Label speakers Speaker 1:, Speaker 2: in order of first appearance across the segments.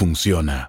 Speaker 1: funciona.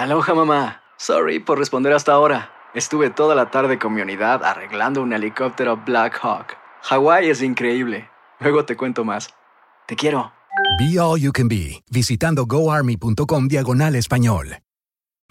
Speaker 2: Aloha mamá. Sorry por responder hasta ahora. Estuve toda la tarde con mi unidad arreglando un helicóptero Black Hawk. Hawái es increíble. Luego te cuento más. Te quiero.
Speaker 3: Be All You Can Be, visitando goarmy.com diagonal español.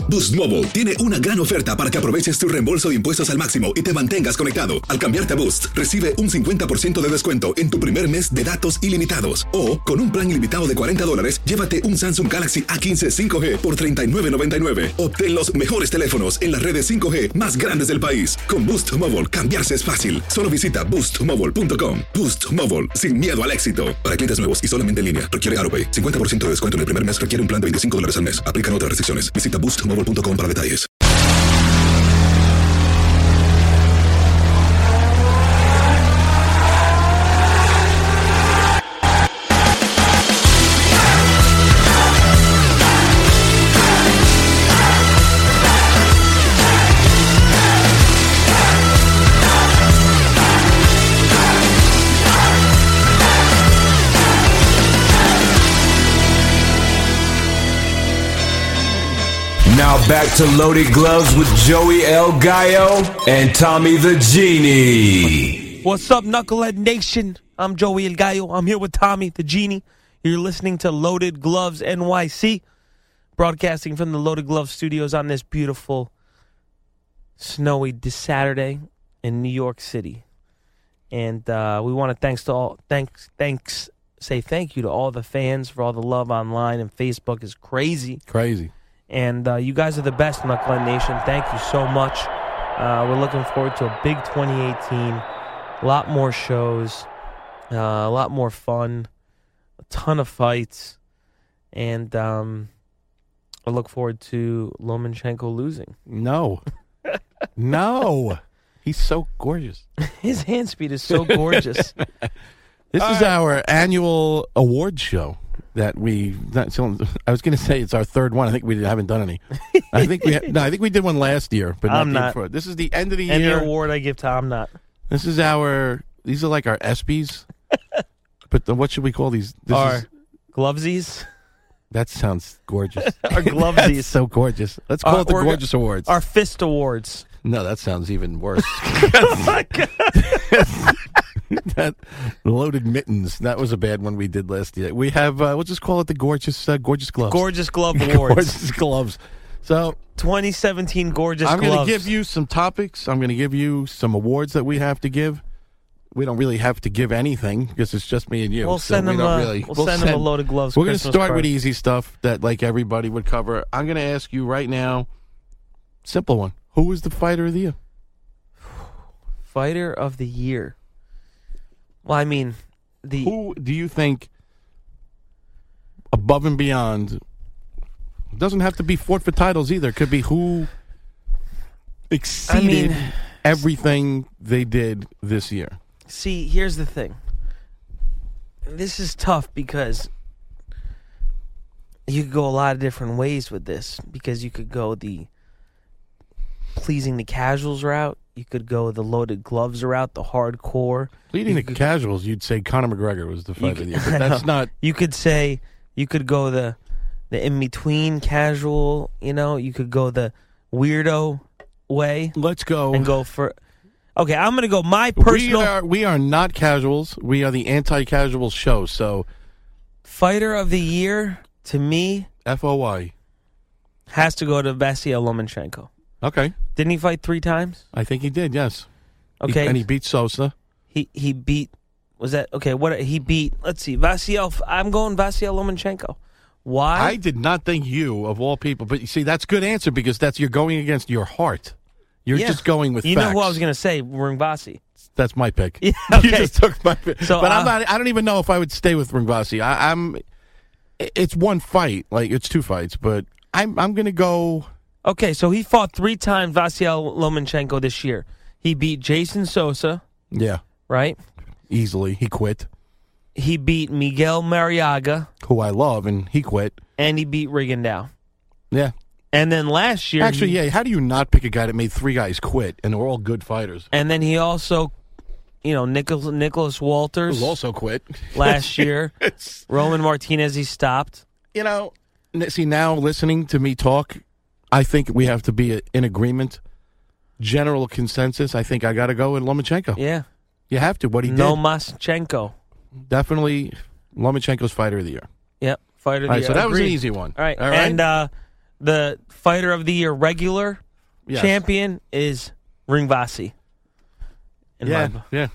Speaker 4: Boost Mobile tiene una gran oferta para que aproveches tu reembolso de impuestos al máximo y te mantengas conectado. Al cambiarte a Boost, recibe un 50% de descuento en tu primer mes de datos ilimitados. O, con un plan ilimitado de 40 dólares, llévate un Samsung Galaxy A15 5G por $39.99. Obtén los mejores teléfonos en las redes 5G más grandes del país. Con Boost Mobile, cambiarse es fácil. Solo visita boostmobile.com. Boost Mobile, sin miedo al éxito. Para clientes nuevos y solamente en línea, requiere AroPay. 50% de descuento en el primer mes requiere un plan de 25 dólares al mes. Aplican otras restricciones. Visita boostmobile.com boostmobile.com para detalles.
Speaker 5: Now back to Loaded Gloves with Joey El Gallo and Tommy the Genie.
Speaker 6: What's up, Knucklehead Nation? I'm Joey El Gallo. I'm here with Tommy the Genie. You're listening to Loaded Gloves NYC, broadcasting from the Loaded Gloves studios on this beautiful, snowy de- Saturday in New York City. And uh, we want to thanks to all thanks thanks say thank you to all the fans for all the love online and Facebook is crazy.
Speaker 7: Crazy.
Speaker 6: And uh, you guys are the best, Knucklehead Nation. Thank you so much. Uh, we're looking forward to a big 2018. A lot more shows, uh, a lot more fun, a ton of fights. And um, I look forward to Lomachenko losing.
Speaker 7: No. no. He's so gorgeous.
Speaker 6: His hand speed is so gorgeous.
Speaker 7: This is our annual award show that we. That, so, I was going to say it's our third one. I think we haven't done any. I think we ha- no. I think we did one last year, but
Speaker 6: I'm
Speaker 7: not. the year
Speaker 6: not.
Speaker 7: before. This is the end of the
Speaker 6: Any
Speaker 7: year.
Speaker 6: award I give to I'm not.
Speaker 7: This is our. These are like our ESPYS. but the, what should we call these? This
Speaker 6: Our
Speaker 7: is-
Speaker 6: Glovesies.
Speaker 7: that sounds gorgeous.
Speaker 6: Our
Speaker 7: That's
Speaker 6: Glovesies.
Speaker 7: so gorgeous. Let's call
Speaker 6: Our
Speaker 7: it the
Speaker 6: orga-
Speaker 7: Gorgeous Awards.
Speaker 6: Our Fist Awards.
Speaker 7: no, that sounds even worse.
Speaker 6: Oh
Speaker 7: that loaded mittens. That was a bad one we did last year. We have. Uh, we'll just call it the gorgeous, uh, gorgeous gloves.
Speaker 6: Gorgeous Glove Awards.
Speaker 7: Gorgeous gloves. So
Speaker 6: 2017 Gorgeous
Speaker 7: I'm going
Speaker 6: Gloves.
Speaker 7: to give you some topics. I'm going to give you some awards that we have to give. We don't really have to give anything because it's just me and you.
Speaker 6: We'll
Speaker 7: so
Speaker 6: send
Speaker 7: we
Speaker 6: them
Speaker 7: don't
Speaker 6: a-
Speaker 7: really-
Speaker 6: we'll send them a load of gloves
Speaker 7: We're gonna
Speaker 6: Christmas
Speaker 7: start
Speaker 6: card.
Speaker 7: with easy stuff that like everybody would cover. I'm going to ask you right now, simple one: Who was the fighter of the year?
Speaker 6: Fighter of the Year. Well, I mean, the
Speaker 7: Who do you think above and beyond? Doesn't have to be fought for titles either. Could be who exceeded everything they did this year.
Speaker 6: see, here's the thing. This is tough because you could go a lot of different ways with this. Because you could go the pleasing the casuals route. You could go the loaded gloves route, the hardcore.
Speaker 7: Leading
Speaker 6: You
Speaker 7: the
Speaker 6: could-
Speaker 7: casuals, you'd say Conor McGregor was the
Speaker 6: You
Speaker 7: fight of
Speaker 6: could-
Speaker 7: the year, but
Speaker 6: I
Speaker 7: that's
Speaker 6: know.
Speaker 7: not.
Speaker 6: You could say you could go the the in between casual. You know, you could go the weirdo way
Speaker 7: Let's go.
Speaker 6: and go for. Okay, I'm gonna go my
Speaker 7: we
Speaker 6: personal
Speaker 7: are we are not casuals. We are the anti-casual show. So
Speaker 6: fighter of the year to me.
Speaker 7: FOI.
Speaker 6: has to go to Vasyl Lomachenko.
Speaker 7: Okay.
Speaker 6: Didn't he fight three times?
Speaker 7: I think he did, yes. He-
Speaker 6: Okay,
Speaker 7: and he beat Sosa.
Speaker 6: he he beat was that okay? What he beat? Let's see, Vasyl. I'm going Vasyl Lomachenko. Why?
Speaker 7: I did not think you, of all people, but you see, that's a good answer because that's you're going against your heart. You're
Speaker 6: Yeah.
Speaker 7: just going with
Speaker 6: you
Speaker 7: facts.
Speaker 6: know who I was going to say, Ringvasi.
Speaker 7: That's my pick.
Speaker 6: Yeah,
Speaker 7: You
Speaker 6: okay.
Speaker 7: just took my pick.
Speaker 6: So,
Speaker 7: but I'm
Speaker 6: uh,
Speaker 7: not. I don't even know if I would stay with Ringvasi. I, I'm. It's one fight. Like it's two fights, but I'm. I'm gonna go.
Speaker 6: Okay, so he fought three times Vasyl Lomachenko this year. He beat Jason Sosa,
Speaker 7: Yeah,
Speaker 6: right?
Speaker 7: easily. He quit.
Speaker 6: He beat Miguel Mariaga,
Speaker 7: Who I love, and he quit.
Speaker 6: and he beat Rigondeaux.
Speaker 7: Yeah.
Speaker 6: And then last year,
Speaker 7: Actually,
Speaker 6: he-
Speaker 7: yeah. How do you not pick a guy that made three guys quit, and they're all good fighters?
Speaker 6: And then he also, you know, Nicholas Nicholas Walters
Speaker 7: Who also quit.
Speaker 6: last year.
Speaker 7: It's-
Speaker 6: Roman Martinez, he stopped.
Speaker 7: you know, n- see now listening to me talk, I think we have to be a- in agreement. General consensus. I think I got to go with Lomachenko.
Speaker 6: Yeah,
Speaker 7: You have to. What he did.
Speaker 6: no Maschenko.
Speaker 7: definitely Lomachenko's fighter of the year.
Speaker 6: Yep, fighter of
Speaker 7: All right,
Speaker 6: the year.
Speaker 7: so that was an
Speaker 6: Agreed.
Speaker 7: easy one.
Speaker 6: All right, and uh, the fighter of the year regular
Speaker 7: Yes.
Speaker 6: champion is Ringvasi. In
Speaker 7: Yeah,
Speaker 6: my-
Speaker 7: yeah.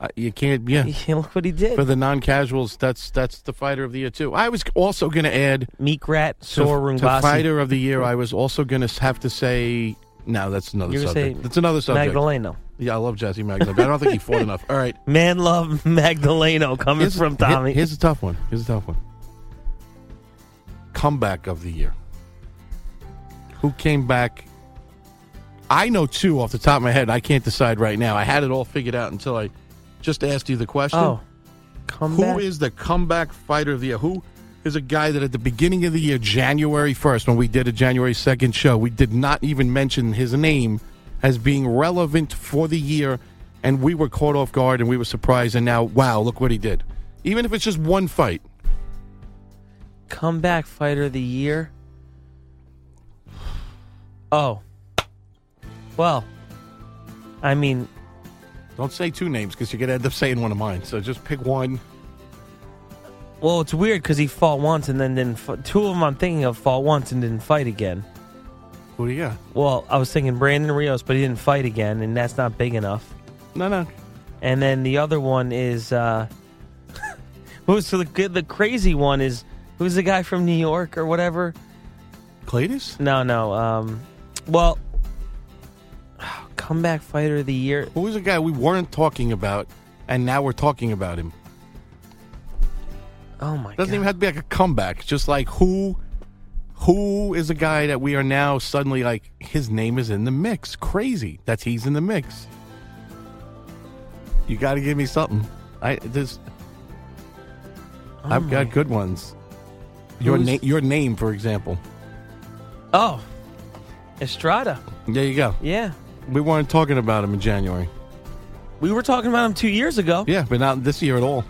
Speaker 7: Uh, you can't. Yeah,
Speaker 6: look what he did.
Speaker 7: for the non-casuals, that's that's the fighter of the year too. I was also going to add
Speaker 6: Meek Rat,
Speaker 7: to,
Speaker 6: Sor
Speaker 7: to
Speaker 6: Ringvasi,
Speaker 7: fighter of the year. I was also going to have to say. No, that's another
Speaker 6: You're gonna
Speaker 7: subject.
Speaker 6: say
Speaker 7: that's another subject.
Speaker 6: Magdaleno.
Speaker 7: Yeah, I love Jesse Magdaleno, but I don't think he fought enough. All right,
Speaker 6: Man love Magdaleno coming
Speaker 7: here's-
Speaker 6: from Tommy.
Speaker 7: Here's a tough one. Here's a tough one. Comeback of the year. Who came back? I know two off the top of my head. I can't decide right now. I had it all figured out until I just asked you the question.
Speaker 6: oh,
Speaker 7: Who
Speaker 6: comeback.
Speaker 7: is the comeback fighter of the year? Who is a guy that at the beginning of the year, January 1st, when we did a January 2nd show, we did not even mention his name as being relevant for the year, and we were caught off guard and we were surprised, and now, wow, look what he did. Even if it's just one fight,
Speaker 6: comeback fighter of the year? Oh. Well, I mean,
Speaker 7: don't say two names because you're going to end up saying one of mine. So just pick one.
Speaker 6: well, it's weird because he fought once and then didn't. F- two of them I'm thinking of fought once and didn't fight again.
Speaker 7: Who do you got?
Speaker 6: Well, I was thinking Brandon Rios, but he didn't fight again, and that's not big enough.
Speaker 7: No, no.
Speaker 6: And then the other one is uh, who's the good, the crazy one is who's the guy from New York or whatever?
Speaker 7: Cletus?
Speaker 6: No, no. Um, well, comeback fighter of the year.
Speaker 7: Who is a guy we weren't talking about, and now we're talking about him?
Speaker 6: Oh my
Speaker 7: Doesn't
Speaker 6: god!
Speaker 7: even have to be like a comeback. Just like who, who is a guy that we are now suddenly like his name is in the mix. Crazy that he's in the mix. You got to give me something. I this. I've got good ones. Your
Speaker 6: Who's-
Speaker 7: name, your name, for example.
Speaker 6: oh, Estrada.
Speaker 7: There you go.
Speaker 6: Yeah,
Speaker 7: We weren't talking about him in January.
Speaker 6: we were talking about him two years ago.
Speaker 7: Yeah, but not this year at all.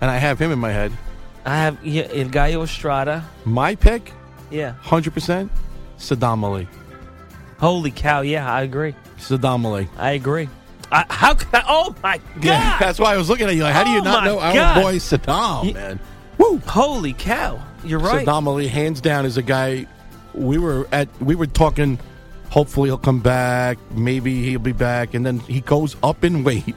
Speaker 7: And I have him in my head.
Speaker 6: I have yeah, El Gallo Estrada.
Speaker 7: My pick,
Speaker 6: Yeah.
Speaker 7: hundred percent, Saddam Ali.
Speaker 6: Holy cow! Yeah, I agree.
Speaker 7: Saddam Ali.
Speaker 6: I agree. I, how could I? Oh my god!
Speaker 7: Yeah, that's why I was looking at you. Like, how do you
Speaker 6: Oh
Speaker 7: not
Speaker 6: my
Speaker 7: know our
Speaker 6: God.
Speaker 7: boy Saddam,
Speaker 6: Ye-
Speaker 7: man?
Speaker 6: Woo! Holy cow! You're right.
Speaker 7: Saddam Ali, hands down, is a guy. We were at. We were talking. Hopefully, he'll come back. Maybe he'll be back, and then he goes up in weight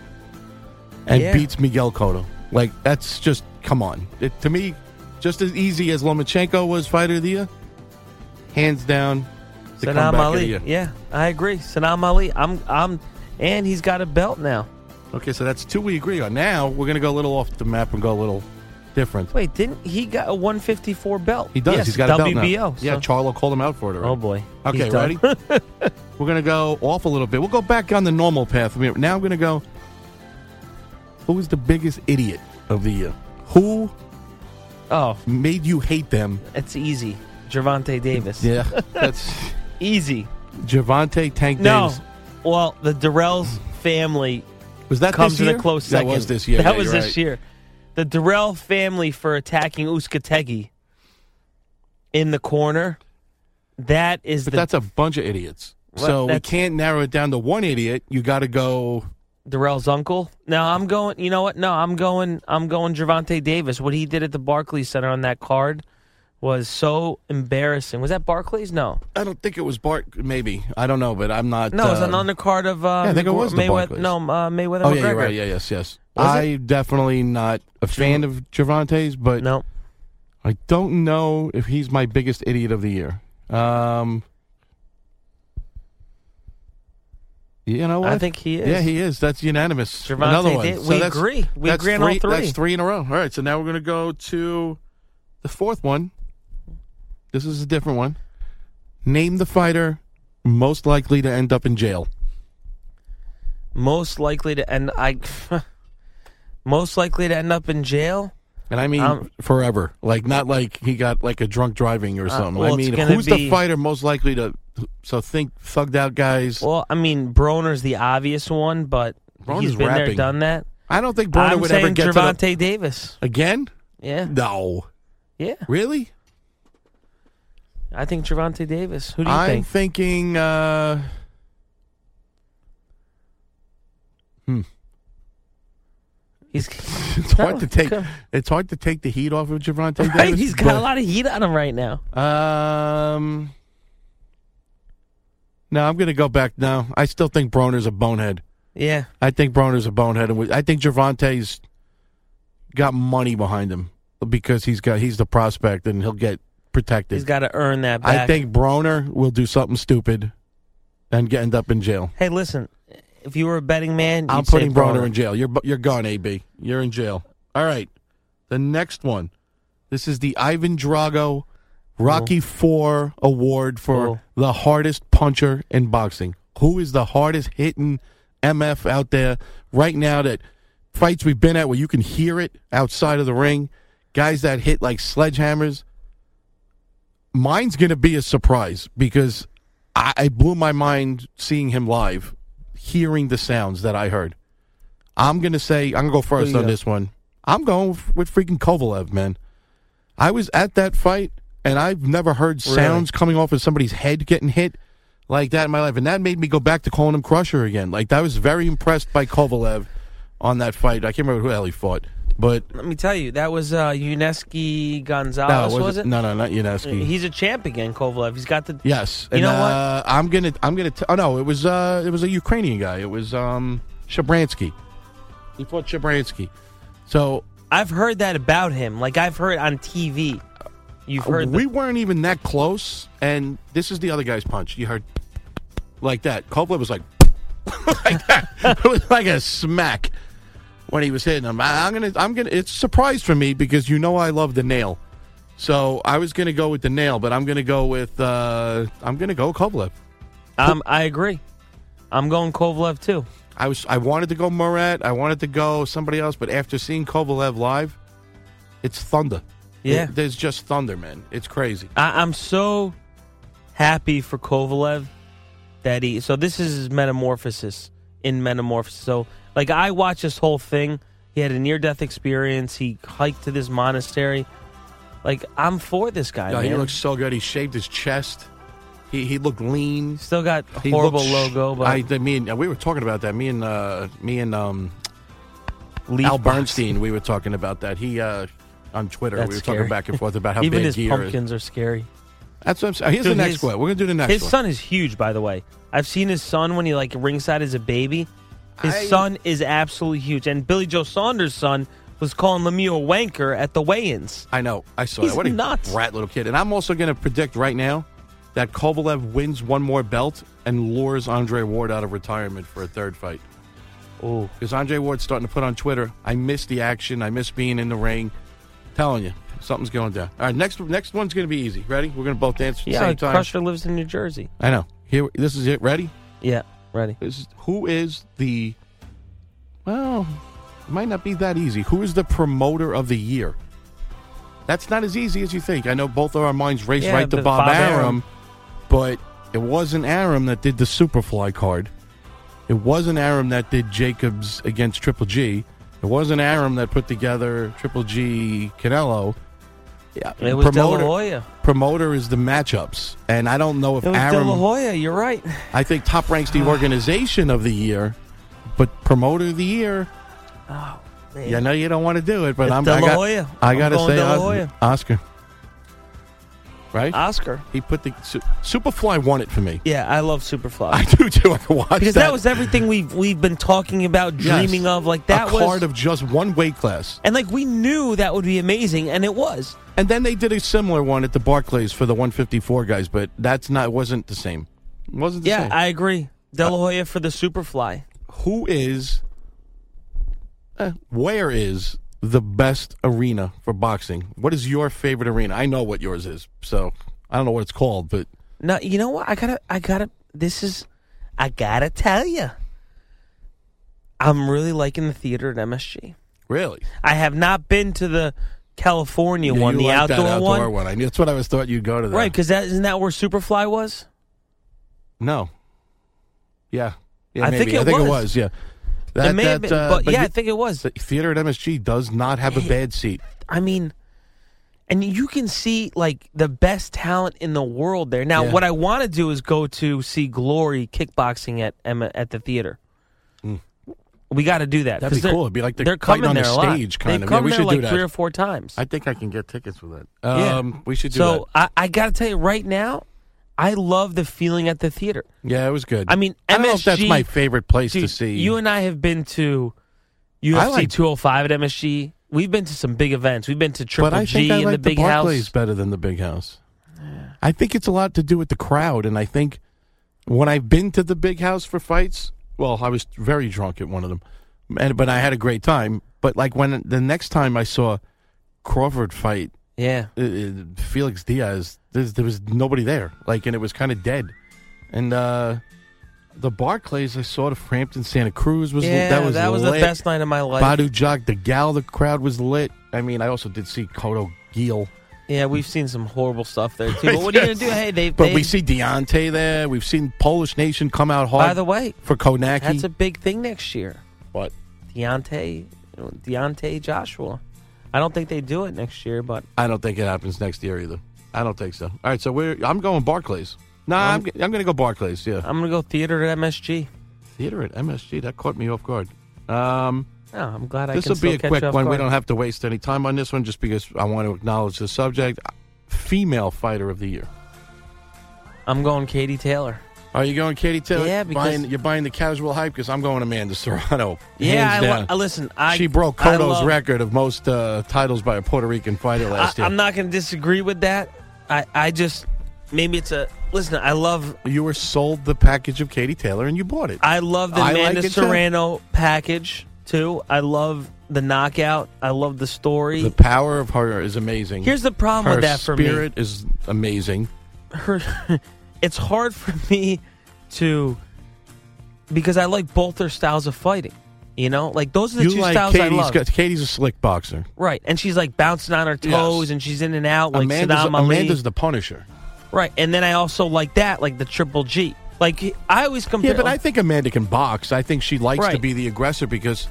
Speaker 7: and
Speaker 6: Yeah.
Speaker 7: beats Miguel Cotto. Like that's just come on. It, to me, just as easy as Lomachenko was fighter of the year. Hands down, the
Speaker 6: Saddam
Speaker 7: comeback of the
Speaker 6: Ali.
Speaker 7: year.
Speaker 6: Yeah, I agree. Saddam Ali. I'm. I'm. And he's got a belt now.
Speaker 7: Okay, so that's two we agree on. Now we're gonna go a little off the map and go a little different.
Speaker 6: Wait, didn't he got a 154 belt?
Speaker 7: He does.
Speaker 6: Yes,
Speaker 7: He's got a belt now.
Speaker 6: WBO.
Speaker 7: Yeah,
Speaker 6: so-
Speaker 7: Charlo called him out for it. Already.
Speaker 6: oh boy.
Speaker 7: Okay,
Speaker 6: He's done.
Speaker 7: ready? We're going to go off a little bit. We'll go back on the normal path. We- Now I'm going to go. Who was the biggest idiot of the year? Who
Speaker 6: oh,
Speaker 7: made you hate them?
Speaker 6: it's easy. Gervonta Davis.
Speaker 7: Yeah, that's
Speaker 6: Easy.
Speaker 7: Javante Tank
Speaker 6: No.
Speaker 7: Davis.
Speaker 6: Well, the Durrell's family
Speaker 7: Was that
Speaker 6: comes
Speaker 7: this
Speaker 6: in
Speaker 7: year?
Speaker 6: a close
Speaker 7: That
Speaker 6: second.
Speaker 7: was this year.
Speaker 6: That
Speaker 7: Yeah,
Speaker 6: was
Speaker 7: you're
Speaker 6: this
Speaker 7: right.
Speaker 6: year. The Durrell family for attacking Uskategi in the corner. That is
Speaker 7: But
Speaker 6: the
Speaker 7: that's a bunch of idiots.
Speaker 6: Well,
Speaker 7: so we
Speaker 6: that's-
Speaker 7: can't narrow it down to one idiot. You got to go.
Speaker 6: Darrell's uncle. No, I'm going. You know what? No, I'm going. I'm going. Gervonta Davis. What he did at the Barclays Center on that card was so embarrassing. Was that Barclays? No,
Speaker 7: I don't think it was Bart. Maybe I don't know, but I'm not.
Speaker 6: no, it was
Speaker 7: uh,
Speaker 6: an undercard of. Uh,
Speaker 7: Yeah, I think it was the
Speaker 6: Mayweather.
Speaker 7: Barclays.
Speaker 6: No, uh, Mayweather.
Speaker 7: Oh
Speaker 6: McGregor.
Speaker 7: yeah, you're right. Yeah, yes, yes.
Speaker 6: Was
Speaker 7: I definitely not a fan of Javante's, but
Speaker 6: No,
Speaker 7: I don't know if he's my biggest idiot of the year. Um, you know what?
Speaker 6: I think he is.
Speaker 7: Yeah, he is. That's unanimous.
Speaker 6: Gervonta
Speaker 7: Another one.
Speaker 6: did- we
Speaker 7: that's-
Speaker 6: agree. We
Speaker 7: that's
Speaker 6: agree on all
Speaker 7: three-
Speaker 6: three.
Speaker 7: That's three in a row. All right. So now we're going to go to the fourth one. This is a different one. Name the fighter most likely to end up in jail.
Speaker 6: most likely to end. I most likely to end up in jail.
Speaker 7: And I mean
Speaker 6: Um,
Speaker 7: forever. Like not like he got like a drunk driving or something.
Speaker 6: Uh, well,
Speaker 7: I
Speaker 6: it's
Speaker 7: mean,
Speaker 6: gonna
Speaker 7: who's
Speaker 6: be-
Speaker 7: the fighter most likely to? So think thugged out guys.
Speaker 6: Well, I mean, Broner's the obvious one, but
Speaker 7: Broner's
Speaker 6: he's been there,
Speaker 7: rapping.
Speaker 6: done that.
Speaker 7: I don't think Broner
Speaker 6: I'm
Speaker 7: would
Speaker 6: saying
Speaker 7: ever get
Speaker 6: Gervonta
Speaker 7: to
Speaker 6: Davis.
Speaker 7: the, again.
Speaker 6: Yeah,
Speaker 7: No,
Speaker 6: yeah.
Speaker 7: really.
Speaker 6: I think Javante Davis. Who do you
Speaker 7: I'm
Speaker 6: think?
Speaker 7: thinking. Uh,
Speaker 6: He's
Speaker 7: It's hard to take.
Speaker 6: Come-
Speaker 7: It's hard to take the heat off of Javante
Speaker 6: Right,
Speaker 7: Davis.
Speaker 6: he's got a lot of heat on him right now.
Speaker 7: lot. Um. No, I'm going to go back now. I still think Broner's a bonehead.
Speaker 6: Yeah,
Speaker 7: I think Broner's a bonehead, and we- I think Javante's got money behind him because he's got he's the prospect, and he'll get protected.
Speaker 6: he's got to earn that back.
Speaker 7: I think Broner will do something stupid and get end up in jail.
Speaker 6: Hey, listen, if you were a betting man,
Speaker 7: I'm
Speaker 6: you'd say
Speaker 7: putting Broner in jail. You're bu- you're gone, AB. You're in jail. All right. The next one. This is the Ivan Drago Rocky Four Award for
Speaker 6: Cool.
Speaker 7: the hardest puncher in boxing. Who is the hardest hitting MF out there right now? That fights we've been at where you can hear it outside of the ring. Guys that hit like sledgehammers. Mine's going to be a surprise because I, I blew my mind seeing him live, hearing the sounds that I heard. I'm going to say, I'm going to go first
Speaker 6: you
Speaker 7: on
Speaker 6: got?
Speaker 7: this one. I'm going f- with freaking Kovalev, man. I was at that fight, and I've never heard
Speaker 6: Really?
Speaker 7: sounds coming off of somebody's head getting hit like that in my life. And that made me go back to calling him Crusher again. Like, I was very impressed by Kovalev on that fight. I can't remember who the hell he fought, but
Speaker 6: Let me tell you, that was uh, Uneski
Speaker 7: no,
Speaker 6: Gonzalez,
Speaker 7: it wasn't-
Speaker 6: was it?
Speaker 7: no, no, not Uneski.
Speaker 6: He's a champ again, Kovalev. He's got the.
Speaker 7: Yes.
Speaker 6: You
Speaker 7: And,
Speaker 6: know what?
Speaker 7: Uh, I'm gonna. I'm gonna. T- oh no! It was. Uh, it was a Ukrainian guy. It was um, Shabransky. He fought Shabransky. So
Speaker 6: I've heard that about him. Like I've heard on TV. You've heard
Speaker 7: Uh, we
Speaker 6: that.
Speaker 7: weren't even that close, and this is the other guy's punch. You heard like that. Kovalev was like like that. it was like a smack when he was hitting him. I, I'm gonna. I'm gonna. It's a surprise for me because you know I love the nail. So I was gonna go with the nail, but I'm gonna go with. Uh, I'm gonna go Kovalev.
Speaker 6: Um, I agree. I'm going Kovalev too.
Speaker 7: I was I wanted to go Moret, I wanted to go somebody else, but after seeing Kovalev live, it's thunder.
Speaker 6: Yeah.
Speaker 7: It- there's just thunder, man. It's crazy.
Speaker 6: I, I'm so happy for Kovalev that he. So this is his metamorphosis in metamorphosis. So like I watched this whole thing. He had a near death experience. He hiked to this monastery. Like I'm for this guy.
Speaker 7: Yeah, he
Speaker 6: man.
Speaker 7: looks so good. He shaved his chest. He he looked lean.
Speaker 6: still got
Speaker 7: He
Speaker 6: horrible
Speaker 7: looked sh-
Speaker 6: logo, but
Speaker 7: I, I mean, we were talking about that. Me and uh, me and um,
Speaker 6: Leaf
Speaker 7: Al
Speaker 6: box.
Speaker 7: Bernstein, we were talking about that. He uh, on Twitter,
Speaker 6: That's
Speaker 7: we were
Speaker 6: scary.
Speaker 7: talking back and forth about how
Speaker 6: Even
Speaker 7: big
Speaker 6: his
Speaker 7: he is.
Speaker 6: pumpkins are scary.
Speaker 7: That's what I'm saying. Here's
Speaker 6: Dude,
Speaker 7: the next
Speaker 6: his-
Speaker 7: one. We're gonna do the next
Speaker 6: his
Speaker 7: one.
Speaker 6: son is huge, by the way. I've seen his son when he like ringside as a baby. His
Speaker 7: I-
Speaker 6: son is absolutely huge, and Billy Joe Saunders' son was calling Lemieux a wanker at the weigh-ins.
Speaker 7: I know. I saw
Speaker 6: He's
Speaker 7: that. What a
Speaker 6: nuts.
Speaker 7: rat little kid. And I'm also going to predict right now that Kovalev wins one more belt and lures Andre Ward out of retirement for a third fight.
Speaker 6: Oh,
Speaker 7: Because Andre Ward's starting to put on Twitter, I miss the action. I miss being in the ring. Telling you, something's going down. All right, next next one's going to be easy. Ready? We're going to both dance at the
Speaker 6: yeah.
Speaker 7: same
Speaker 6: like
Speaker 7: time.
Speaker 6: Crusher lives in New Jersey.
Speaker 7: I know. Here, This is it. Ready?
Speaker 6: Yeah, ready.
Speaker 7: This is, who is the. Well, it might not be that easy. Who is the promoter of the year? That's not as easy as you think. I know both of our minds raced
Speaker 6: Yeah,
Speaker 7: right to
Speaker 6: but
Speaker 7: Bob,
Speaker 6: Bob
Speaker 7: Arum,
Speaker 6: Arum.
Speaker 7: but it wasn't Arum that did the Superfly card. It wasn't Arum that did Jacobs against Triple G. It wasn't Arum that put together Triple G Canelo. Yeah,
Speaker 6: It was De La Hoya.
Speaker 7: promoter is the matchups, and I don't know if
Speaker 6: It was De
Speaker 7: Arum.
Speaker 6: La Hoya. You're right.
Speaker 7: I think top ranks
Speaker 6: Ah.
Speaker 7: the organization of the year, but promoter of the year.
Speaker 6: Man.
Speaker 7: Yeah, I know you don't want to do it, but
Speaker 6: Oh, It's
Speaker 7: I'm
Speaker 6: De La
Speaker 7: I got,
Speaker 6: Hoya. Ah.
Speaker 7: I
Speaker 6: I'm
Speaker 7: gotta
Speaker 6: going
Speaker 7: say
Speaker 6: De La
Speaker 7: Os-
Speaker 6: Hoya.
Speaker 7: Oscar. right?
Speaker 6: Oscar.
Speaker 7: he put the Su- Superfly won it for me.
Speaker 6: Yeah, I love Superfly.
Speaker 7: I do too. I can watch
Speaker 6: because that, was everything we've we've been talking about,
Speaker 7: Yes.
Speaker 6: dreaming of. Like that
Speaker 7: a
Speaker 6: was,
Speaker 7: card of just one weight class,
Speaker 6: and like we knew that would be amazing, and it was.
Speaker 7: and then they did a similar one at the Barclays for the 154 guys, but that's not wasn't the same. Wasn't the
Speaker 6: Yeah,
Speaker 7: same.
Speaker 6: I agree. De La Hoya for the Superfly.
Speaker 7: Who is? eh, where is the best arena for boxing? What is your favorite arena? I know what yours is, so I don't know what it's called, but
Speaker 6: No, you know what? I gotta, I gotta. This is, I gotta tell you. I'm really liking the theater at MSG.
Speaker 7: really,
Speaker 6: I have not been to the California
Speaker 7: Yeah,
Speaker 6: one,
Speaker 7: you
Speaker 6: the
Speaker 7: like that
Speaker 6: outdoor,
Speaker 7: outdoor
Speaker 6: one,
Speaker 7: I knew, that's what I was thought you'd go to. That.
Speaker 6: right? Because that isn't that where Superfly was.
Speaker 7: No. Yeah. Yeah,
Speaker 6: I
Speaker 7: maybe.
Speaker 6: think it
Speaker 7: I think
Speaker 6: was.
Speaker 7: it was. Yeah.
Speaker 6: It
Speaker 7: That,
Speaker 6: may have
Speaker 7: that,
Speaker 6: been-
Speaker 7: uh,
Speaker 6: but, yeah,
Speaker 7: you-
Speaker 6: I think it was.
Speaker 7: the theater at MSG does not have a bad seat.
Speaker 6: I mean, and you can see like the best talent in the world there. Now,
Speaker 7: Yeah.
Speaker 6: what I want to do is go to see Glory kickboxing at Emma at the theater. We got to do that.
Speaker 7: Mm. That'd
Speaker 6: 'cause
Speaker 7: be
Speaker 6: they're-
Speaker 7: cool. It'd be like the
Speaker 6: they're
Speaker 7: fight
Speaker 6: coming
Speaker 7: on the
Speaker 6: there a lot.
Speaker 7: stage,
Speaker 6: They've
Speaker 7: kind of. Yeah,
Speaker 6: come
Speaker 7: we
Speaker 6: there
Speaker 7: should
Speaker 6: like
Speaker 7: do that.
Speaker 6: three or four times.
Speaker 7: I think I can get tickets for that.
Speaker 6: Yeah.
Speaker 7: Um, We should do
Speaker 6: so I, I got to tell you right now, I love the feeling at the theater.
Speaker 7: that. Yeah, it was good.
Speaker 6: I mean,
Speaker 7: I don't know if that's
Speaker 6: MSG
Speaker 7: my favorite place to
Speaker 6: Dude,
Speaker 7: see.
Speaker 6: You and I have been to UFC
Speaker 7: like-
Speaker 6: 205 at MSG. We've been to some big events. We've been to Triple
Speaker 7: but I
Speaker 6: G
Speaker 7: think I
Speaker 6: in
Speaker 7: like
Speaker 6: the big
Speaker 7: Barclays
Speaker 6: house.
Speaker 7: better than the big house. I think it's a lot to do with the crowd, and I think when I've been to the big house for fights, well, I was very drunk at one of them, and but I had a great time. But like when the next time I saw Crawford fight
Speaker 6: Yeah.
Speaker 7: uh, uh, Felix Diaz, there's, there was nobody there, like, and it was kind of dead. And uh the Barclays, I saw the Frampton Santa Cruz was
Speaker 6: yeah,
Speaker 7: that was
Speaker 6: the
Speaker 7: lit.
Speaker 6: best night of my life.
Speaker 7: Badu Jock, the gal, the crowd was lit. I mean, I also did see Kodo Giel.
Speaker 6: Yeah, we've seen some horrible stuff there too. But what are you gonna do? Hey, they.
Speaker 7: But
Speaker 6: they-
Speaker 7: we see Deontay there. We've seen Polish Nation come out hard.
Speaker 6: By the way,
Speaker 7: for Konaki.
Speaker 6: that's a big thing next year.
Speaker 7: what?
Speaker 6: Deontay, Deontay Joshua. I don't think they do it next year, but
Speaker 7: I don't think it happens next year either. I don't think so. All right, so we're. I'm going Barclays. No,
Speaker 6: Um,
Speaker 7: nah, I'm. g- I'm going to go Barclays. Yeah,
Speaker 6: I'm gonna go theater at MSG.
Speaker 7: theater at MSG. That caught me off guard. Um,
Speaker 6: No, Oh, I'm glad I
Speaker 7: this
Speaker 6: can
Speaker 7: will
Speaker 6: still
Speaker 7: be a
Speaker 6: catch
Speaker 7: quick
Speaker 6: you off
Speaker 7: one. We
Speaker 6: guard.
Speaker 7: don't have to waste any time on this one, just because I want to acknowledge the subject. Female fighter of the year.
Speaker 6: I'm going Katie Taylor.
Speaker 7: Are you going Katie Taylor?
Speaker 6: Yeah, because-
Speaker 7: buying, you're buying the casual hype because I'm going Amanda Serrano.
Speaker 6: Yeah, I,
Speaker 7: hands
Speaker 6: lo-
Speaker 7: down.
Speaker 6: I listen. I
Speaker 7: she broke
Speaker 6: I
Speaker 7: Cotto's
Speaker 6: love-
Speaker 7: record of most uh, titles by a Puerto Rican fighter
Speaker 6: I,
Speaker 7: last year.
Speaker 6: I'm not gonna disagree with that. I I just maybe it's a listen. I love
Speaker 7: You were sold the package of Katie Taylor and you bought it.
Speaker 6: I love the
Speaker 7: I like
Speaker 6: Amanda
Speaker 7: it, too.
Speaker 6: Serrano package too. I love the knockout. I love the story.
Speaker 7: the power of her is amazing.
Speaker 6: Here's the problem
Speaker 7: her
Speaker 6: with that for me.
Speaker 7: spirit is amazing.
Speaker 6: Her, it's hard for me to because I like both their styles of fighting. You know, like those are the
Speaker 7: you
Speaker 6: two
Speaker 7: like
Speaker 6: styles
Speaker 7: Katie's
Speaker 6: I love.
Speaker 7: got- Katie's a slick boxer.
Speaker 6: right, and she's like bouncing on her toes,
Speaker 7: Yes.
Speaker 6: and she's in and out like
Speaker 7: Amanda's,
Speaker 6: Saddam Ali.
Speaker 7: Amanda's the Punisher.
Speaker 6: right, and then I also like that, like the Triple G. Like I always compare. oh,
Speaker 7: Yeah, but I think Amanda can box. I think she likes to
Speaker 6: Right.
Speaker 7: be the aggressor because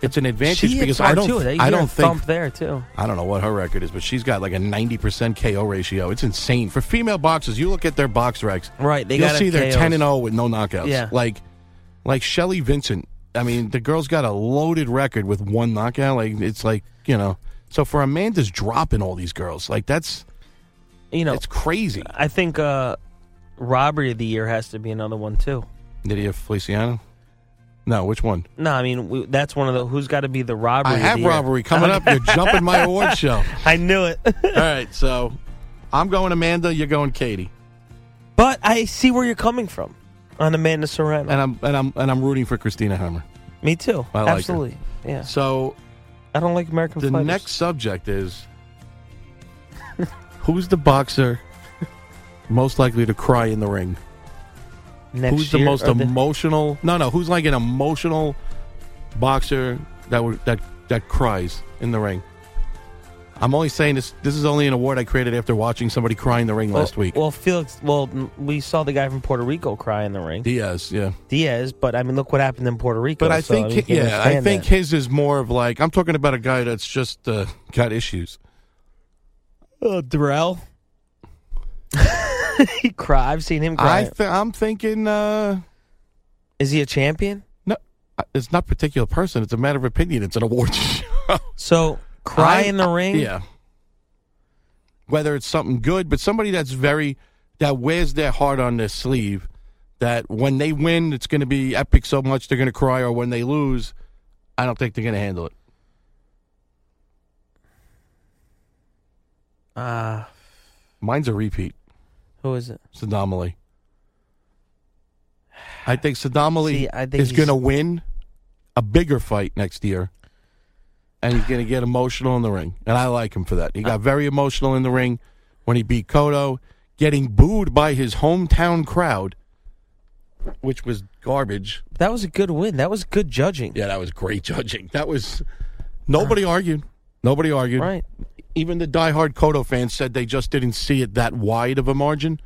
Speaker 7: it's an
Speaker 6: she
Speaker 7: advantage.
Speaker 6: hits
Speaker 7: because
Speaker 6: hard
Speaker 7: I don't,
Speaker 6: too. You
Speaker 7: I
Speaker 6: hear a
Speaker 7: don't think
Speaker 6: thump there too.
Speaker 7: I don't know what her record is, but she's got like a 90% KO ratio. It's insane. For female boxers, you look at their box recs.
Speaker 6: Right, they
Speaker 7: you'll
Speaker 6: gotta
Speaker 7: see they're
Speaker 6: KOs.
Speaker 7: 10 and 0 with no knockouts.
Speaker 6: Yeah.
Speaker 7: Like like Shelly Vincent. I mean, the girl's got a loaded record with one knockout. Like it's like, you know. So for Amanda's dropping all these girls, like that's
Speaker 6: You know,
Speaker 7: it's crazy.
Speaker 6: I think uh, robbery of the year has to be another one too.
Speaker 7: Nidia Feliciano? No, which one?
Speaker 6: No, I mean we, that's one of the who's got to be the robbery.
Speaker 7: I
Speaker 6: of
Speaker 7: have
Speaker 6: the year.
Speaker 7: robbery coming up. You're jumping my award show.
Speaker 6: I knew it,
Speaker 7: All right, so I'm going Amanda, you're going Katie.
Speaker 6: but I see where you're coming from on Amanda Serrano.
Speaker 7: And I'm and I'm and I'm rooting for Christina Hammer.
Speaker 6: Me too.
Speaker 7: I like her.
Speaker 6: Absolutely. Yeah.
Speaker 7: So
Speaker 6: I don't like American
Speaker 7: The
Speaker 6: fighters.
Speaker 7: next subject is who's the boxer most likely to cry in the ring?
Speaker 6: Next
Speaker 7: who's the
Speaker 6: year
Speaker 7: most
Speaker 6: or the-
Speaker 7: emotional? No, no. Who's like an emotional boxer that would that that cries in the ring? I'm only saying this. This is only an award I created after watching somebody cry in the ring
Speaker 6: well,
Speaker 7: last week.
Speaker 6: Oh, Well, Felix. Well, m- we saw the guy from Puerto Rico cry in the ring,
Speaker 7: Diaz, yeah.
Speaker 6: Diaz. But I mean, look what happened in Puerto Rico.
Speaker 7: But I
Speaker 6: so,
Speaker 7: think,
Speaker 6: mean, you can
Speaker 7: yeah, I
Speaker 6: understand
Speaker 7: think
Speaker 6: that.
Speaker 7: his is more of like I'm talking about a guy that's just uh, got issues.
Speaker 6: uh, Darrell. he cry. I've seen him cry.
Speaker 7: I th- I'm thinking. Uh,
Speaker 6: Is he a champion?
Speaker 7: No, I- it's not particular person. It's a matter of opinion. It's an award show.
Speaker 6: So cry in the ring.
Speaker 7: Yeah. whether it's something good, but somebody that's very that wears their heart on their sleeve. That when they win, it's going to be epic so much they're going to cry, or when they lose, I don't think they're going to handle it.
Speaker 6: Uh,
Speaker 7: Mine's a repeat.
Speaker 6: who is it?
Speaker 7: Saddam Ali. I think Saddam Ali
Speaker 6: See, I think
Speaker 7: is
Speaker 6: he's-
Speaker 7: going to win a bigger fight next year, and he's going to get emotional in the ring. And I like him for that. He got very emotional in the ring when he beat Cotto, getting booed by his hometown crowd, which was garbage.
Speaker 6: That was a good win. That was good judging.
Speaker 7: Yeah, that was great judging. That was nobody argued. Nobody argued.
Speaker 6: Right.
Speaker 7: Even the diehard Cotto fans said they just didn't see it that wide of a margin.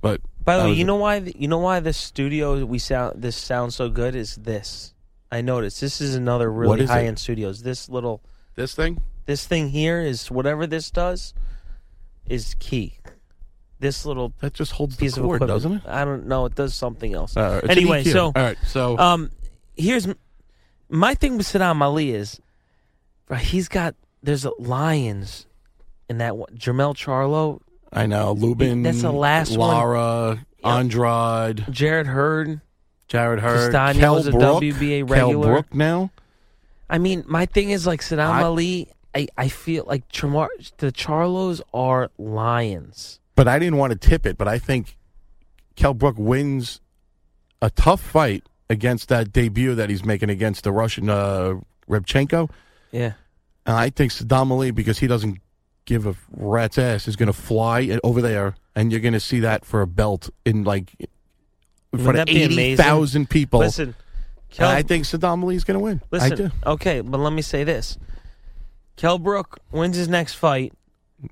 Speaker 7: But
Speaker 6: By the
Speaker 7: that
Speaker 6: way,
Speaker 7: was
Speaker 6: you
Speaker 7: it.
Speaker 6: know why th- you know why this studio we sound this sounds so good is this. I noticed this is another really
Speaker 7: is it?
Speaker 6: high end studios. This little
Speaker 7: this thing.
Speaker 6: this thing here is whatever this does is key. This little
Speaker 7: That just holds
Speaker 6: piece
Speaker 7: the
Speaker 6: of
Speaker 7: cord,
Speaker 6: equipment,
Speaker 7: doesn't it?
Speaker 6: I don't know. It does something else.
Speaker 7: Uh, it's an
Speaker 6: anyway,
Speaker 7: EQ.
Speaker 6: so
Speaker 7: all right, so
Speaker 6: um, here's m- my thing with Saddam Ali is bro, he's got there's a lions in that one. Jermel Charlo,
Speaker 7: I know Lubin.
Speaker 6: that's the last one.
Speaker 7: Lara, Andrade,
Speaker 6: Jared Hurd.
Speaker 7: Jared Hurd,
Speaker 6: Castagne
Speaker 7: Kell
Speaker 6: was a
Speaker 7: Brook,
Speaker 6: WBA
Speaker 7: Kell
Speaker 6: regular.
Speaker 7: Brook now.
Speaker 6: I mean, my thing is like Saddam
Speaker 7: I-
Speaker 6: Ali. I, I feel like Chamar- the Charlos are lions.
Speaker 7: But I didn't want to tip it. But I think Kell Brook wins a tough fight against that debut that he's making against the Russian uh, Rebchenko.
Speaker 6: Yeah.
Speaker 7: And I think Saddam Ali, because he doesn't give a rat's ass, is going to fly it over there, and you're going to see that for a belt in like in front
Speaker 6: Wouldn't
Speaker 7: of
Speaker 6: that be amazing?
Speaker 7: eighty thousand people.
Speaker 6: Listen, Kel,
Speaker 7: And I think Saddam Ali's going to win.
Speaker 6: listen.
Speaker 7: I do.
Speaker 6: Okay, but let me say this: Kell Brook wins his next fight,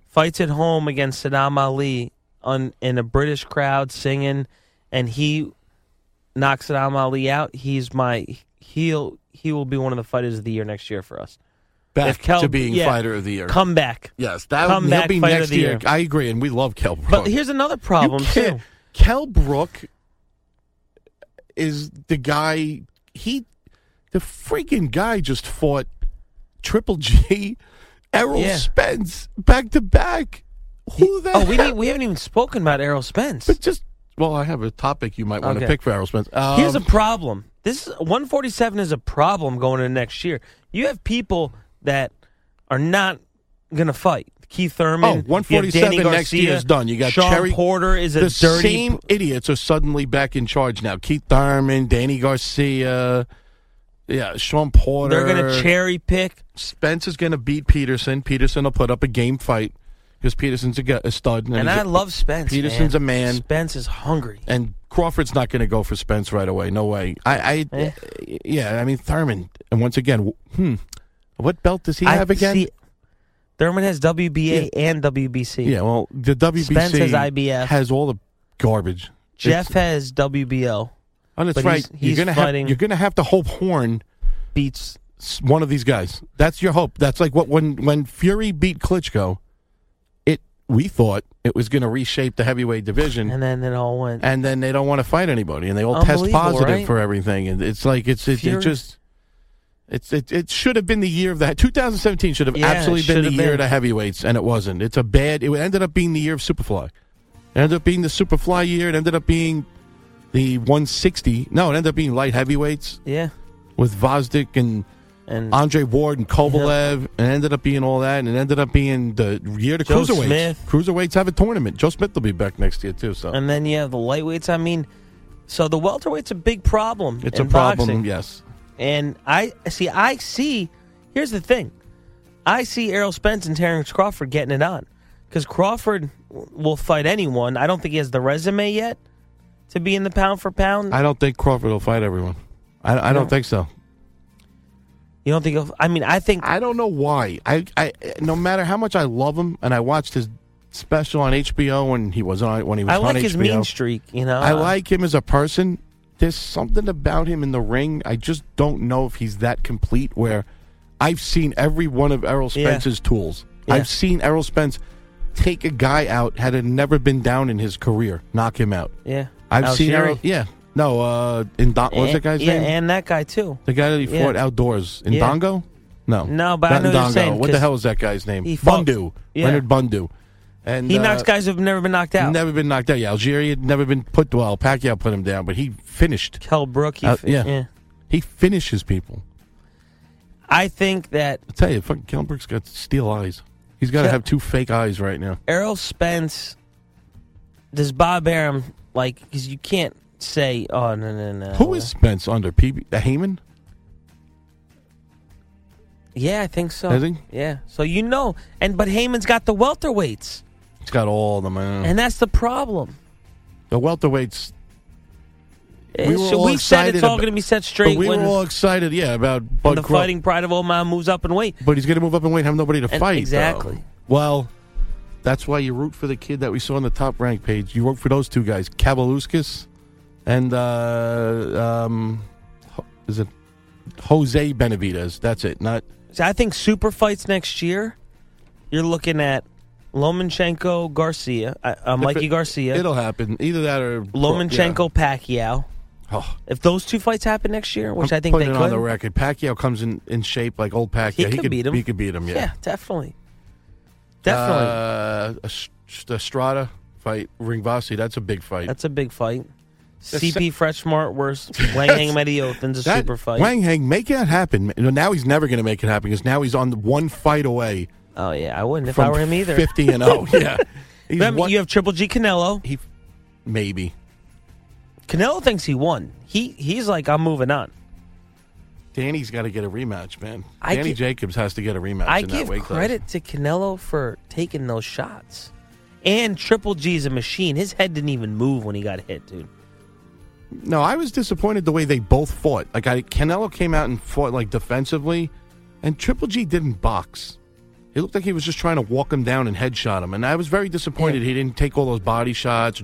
Speaker 6: fights at home against Saddam Ali on in a British crowd singing, and he knocks Saddam Ali out. He's my he'll he will be one of the fighters of the year next year for us.
Speaker 7: Back
Speaker 6: If Kel-
Speaker 7: to being
Speaker 6: yeah.
Speaker 7: fighter of the year.
Speaker 6: Come back.
Speaker 7: yes, that
Speaker 6: come
Speaker 7: will
Speaker 6: back
Speaker 7: be
Speaker 6: fighter of
Speaker 7: next
Speaker 6: the
Speaker 7: year.
Speaker 6: year.
Speaker 7: I agree, and we love Kell Brook.
Speaker 6: But here's another problem
Speaker 7: you can't-
Speaker 6: too.
Speaker 7: Kell Brook is the guy. He, the freaking guy, just fought Triple G, Errol
Speaker 6: Yeah.
Speaker 7: Spence back to back. Who the
Speaker 6: Oh, we
Speaker 7: hell-
Speaker 6: didn't, we haven't even spoken about Errol Spence.
Speaker 7: But just well, I have a topic you might want to
Speaker 6: Okay.
Speaker 7: pick for Errol Spence. Um,
Speaker 6: Here's a problem. This 147 is a problem going into next year. You have people that are not going to fight. Keith Thurman.
Speaker 7: Oh,
Speaker 6: you have
Speaker 7: 147
Speaker 6: Danny
Speaker 7: next year
Speaker 6: Garcia,
Speaker 7: is done. You got
Speaker 6: Sean
Speaker 7: Cherry-
Speaker 6: Porter is a
Speaker 7: the
Speaker 6: dirty.
Speaker 7: same idiots are suddenly back in charge now. Keith Thurman, Danny Garcia, yeah, Sean Porter.
Speaker 6: they're going to cherry pick.
Speaker 7: Spence is going to beat Peterson. Peterson will put up a game fight because Peterson's a, gu- a stud.
Speaker 6: And
Speaker 7: he's
Speaker 6: I
Speaker 7: a-
Speaker 6: love Spence.
Speaker 7: Peterson's
Speaker 6: man.
Speaker 7: a man.
Speaker 6: Spence is hungry.
Speaker 7: And Crawford's not going to go for Spence right away. No way. I, I
Speaker 6: Eh.
Speaker 7: yeah. I mean Thurman. And once again, wh- hmm, what belt does he
Speaker 6: I
Speaker 7: have again?
Speaker 6: see- Thurman has WBA and WBC.
Speaker 7: Yeah, well, the WBC
Speaker 6: Spence has IBF.
Speaker 7: has all the garbage.
Speaker 6: Jeff
Speaker 7: It's-
Speaker 6: has WBO.
Speaker 7: oh, that's
Speaker 6: but
Speaker 7: right.
Speaker 6: he's- he's
Speaker 7: you're gonna
Speaker 6: fighting-
Speaker 7: have you're gonna have to hope Horn
Speaker 6: Beats.
Speaker 7: s- one of these guys. That's your hope. That's like what when when Fury beat Klitschko, it we thought it was gonna reshape the heavyweight division,
Speaker 6: And
Speaker 7: and,
Speaker 6: then it all went.
Speaker 7: then they don't want to fight anybody, and they all test
Speaker 6: Unbelievable,
Speaker 7: positive
Speaker 6: right?
Speaker 7: for everything, and it's like it's it, it
Speaker 6: Fury-
Speaker 7: just. It's it, it should have been the year of that. 2017 should have
Speaker 6: Yeah, it
Speaker 7: absolutely
Speaker 6: should
Speaker 7: been the
Speaker 6: have
Speaker 7: year of
Speaker 6: been.
Speaker 7: the heavyweights, and it wasn't. It's a bad. It ended up being the year of Superfly. It ended up being the Superfly year. It ended up being the 160. No, it ended up being light heavyweights
Speaker 6: yeah.
Speaker 7: with Vosdick and
Speaker 6: And
Speaker 7: Andre Ward and Kovalev. And it ended up being all that. And it ended up being the year to
Speaker 6: Joe
Speaker 7: cruiserweights.
Speaker 6: Smith.
Speaker 7: Cruiserweights have a tournament. Joe Smith will be back next year too. So
Speaker 6: And then you have the lightweights. I mean, so the welterweight's a big problem.
Speaker 7: it's
Speaker 6: in
Speaker 7: a problem.
Speaker 6: boxing.
Speaker 7: Yes.
Speaker 6: And I see. I see. Here's the thing. I see Errol Spence and Terrence Crawford getting it on because Crawford w- will fight anyone. I don't think he has the resume yet to be in the pound for pound.
Speaker 7: I don't think Crawford will fight everyone. I, I don't
Speaker 6: No.
Speaker 7: think so.
Speaker 6: you don't think? Of, I mean, I think
Speaker 7: I don't know why. I, I no matter how much I love him, and I watched his special on HBO when he was on when he was
Speaker 6: I
Speaker 7: on
Speaker 6: like his
Speaker 7: HBO.
Speaker 6: mean streak. You know,
Speaker 7: I like him as a person. There's something about him in the ring. I just don't know if he's that complete. Where I've seen every one of Errol
Speaker 6: Yeah.
Speaker 7: Spence's tools.
Speaker 6: Yeah.
Speaker 7: I've seen Errol Spence take a guy out had it never been down in his career, knock him out.
Speaker 6: Yeah,
Speaker 7: I've
Speaker 6: Alshiri.
Speaker 7: seen Errol. Yeah, no. Uh, in Don, what was
Speaker 6: And-
Speaker 7: that guy's
Speaker 6: yeah,
Speaker 7: name?
Speaker 6: and that guy too.
Speaker 7: The guy that he
Speaker 6: Yeah.
Speaker 7: fought outdoors in
Speaker 6: Yeah.
Speaker 7: Dongo? No.
Speaker 6: No, but I
Speaker 7: Not
Speaker 6: know
Speaker 7: in
Speaker 6: what you're
Speaker 7: Dongo.
Speaker 6: saying,
Speaker 7: What the
Speaker 6: 'cause
Speaker 7: hell is that guy's name?
Speaker 6: he fought-
Speaker 7: Bundu.
Speaker 6: Yeah.
Speaker 7: Leonard Bundu. And
Speaker 6: He
Speaker 7: uh,
Speaker 6: knocks guys who've never been knocked out.
Speaker 7: Never been knocked out. Yeah, Algeria had never been put. Well, Pacquiao put him down, but he finished.
Speaker 6: Kell Brook. He,
Speaker 7: Uh,
Speaker 6: fi-
Speaker 7: yeah. He finishes people.
Speaker 6: I think that
Speaker 7: I tell you, fucking Kellenberg's got steel eyes. He's got to
Speaker 6: Yeah.
Speaker 7: have two fake eyes right now.
Speaker 6: Errol Spence does Bob Arum like because you can't say oh no no no.
Speaker 7: Who is Spence under? PB uh, Heyman?
Speaker 6: Yeah, I think so.
Speaker 7: Is he?
Speaker 6: Yeah. So you know, and but Heyman's got the welterweights,
Speaker 7: He's got all the man.
Speaker 6: and that's the problem.
Speaker 7: the welterweights. We were
Speaker 6: so
Speaker 7: all
Speaker 6: we
Speaker 7: excited
Speaker 6: said it's all
Speaker 7: about-
Speaker 6: going to be set straight
Speaker 7: But we were
Speaker 6: when,
Speaker 7: all excited, yeah, about
Speaker 6: when
Speaker 7: Bud
Speaker 6: the
Speaker 7: Cro-
Speaker 6: fighting pride of Oman moves up in weight.
Speaker 7: But he's going to move up and wait and have nobody to
Speaker 6: And-
Speaker 7: fight. though.
Speaker 6: exactly.
Speaker 7: Well, that's why you root for the kid that we saw on the top rank page. You root for those two guys, Kabaluskas and uh, um, Ho- is it Jose Benavides? That's it. Not
Speaker 6: So I think super fights next year. You're looking at Lomachenko Garcia, I, uh,
Speaker 7: if
Speaker 6: Mikey
Speaker 7: it-
Speaker 6: Garcia,
Speaker 7: It'll happen. Either that or
Speaker 6: Lomachenko Pacquiao.
Speaker 7: Yeah. Oh,
Speaker 6: If those two fights happen next year, which
Speaker 7: I'm
Speaker 6: i think
Speaker 7: putting
Speaker 6: they
Speaker 7: it
Speaker 6: could,
Speaker 7: on the record. Pacquiao comes in, in shape like old Pacquiao.
Speaker 6: could beat him.
Speaker 7: He could beat him.
Speaker 6: yeah.
Speaker 7: Yeah.
Speaker 6: definitely, definitely.
Speaker 7: Uh, Est- Estrada fight Ringvasi. That's a big fight.
Speaker 6: That's a big fight.
Speaker 7: The
Speaker 6: CP Freshmart worse, Wang Hang Mediothan's a
Speaker 7: That-
Speaker 6: super fight.
Speaker 7: Wang Hang, make that happen. You know, Now he's never going to make it happen because now he's on the one fight away
Speaker 6: oh yeah, I wouldn't if
Speaker 7: from
Speaker 6: I were him either.
Speaker 7: 50 and 0. yeah. He's
Speaker 6: Remember,
Speaker 7: one-
Speaker 6: you have Triple G Canelo.
Speaker 7: he, maybe.
Speaker 6: Canelo thinks he won. He he's like, I'm moving on.
Speaker 7: Danny's got to get a rematch, man.
Speaker 6: I
Speaker 7: Danny
Speaker 6: gi-
Speaker 7: Jacobs has to get a rematch.
Speaker 6: I
Speaker 7: in that
Speaker 6: give
Speaker 7: weight class.
Speaker 6: credit to Canelo for taking those shots. And Triple G's a machine. His head didn't even move when he got hit, dude.
Speaker 7: No, I was disappointed the way they both fought. Like I, Canelo came out and fought like defensively, and Triple G didn't box. He looked like he was just trying to walk him down and headshot him, and I was very disappointed he didn't take all those body shots.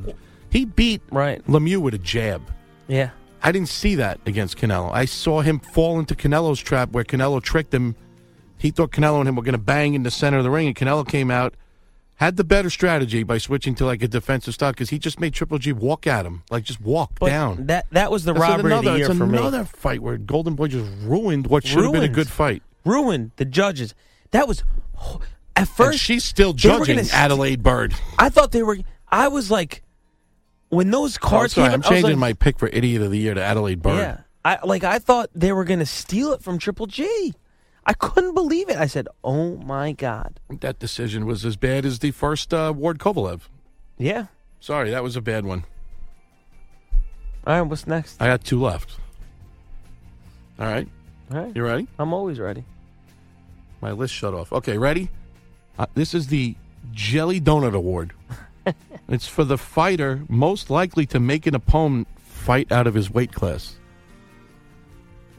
Speaker 7: He beat
Speaker 6: Right.
Speaker 7: Lemieux with a jab.
Speaker 6: Yeah.
Speaker 7: I didn't see that against Canelo. I saw him fall into Canelo's trap where Canelo tricked him. He thought Canelo and him were going to bang in the center of the ring, and Canelo came out, had the better strategy by switching to like a defensive style because he just made Triple G walk at him, like just walk
Speaker 6: But
Speaker 7: down.
Speaker 6: That that was the
Speaker 7: That's
Speaker 6: robbery
Speaker 7: another,
Speaker 6: of the year
Speaker 7: it's
Speaker 6: for
Speaker 7: another
Speaker 6: me.
Speaker 7: fight where Golden Boy just ruined what should have been a
Speaker 6: Ruined.
Speaker 7: good fight.
Speaker 6: Ruined the judges. That was at
Speaker 7: And
Speaker 6: first
Speaker 7: she's still
Speaker 6: they were
Speaker 7: judging
Speaker 6: gonna st-
Speaker 7: Adelaide Bird.
Speaker 6: I thought they were. I was like, when those
Speaker 7: Oh,
Speaker 6: cards
Speaker 7: sorry,
Speaker 6: came,
Speaker 7: I'm
Speaker 6: in, I was
Speaker 7: changing
Speaker 6: like,
Speaker 7: my pick for Idiot of the Year to Adelaide Bird.
Speaker 6: Yeah, I like. I thought they were gonna steal it from Triple G. I couldn't believe it. I said, "Oh my god!"
Speaker 7: That decision was as bad as the first uh, Ward Kovalev.
Speaker 6: Yeah.
Speaker 7: Sorry, that was a bad one.
Speaker 6: All right. What's next?
Speaker 7: I got two left. All right,
Speaker 6: All right.
Speaker 7: you ready?
Speaker 6: I'm always ready.
Speaker 7: My list shut off. Okay, ready? Uh, this is the Jelly Donut Award. it's for the fighter most likely to make an opponent fight out of his weight class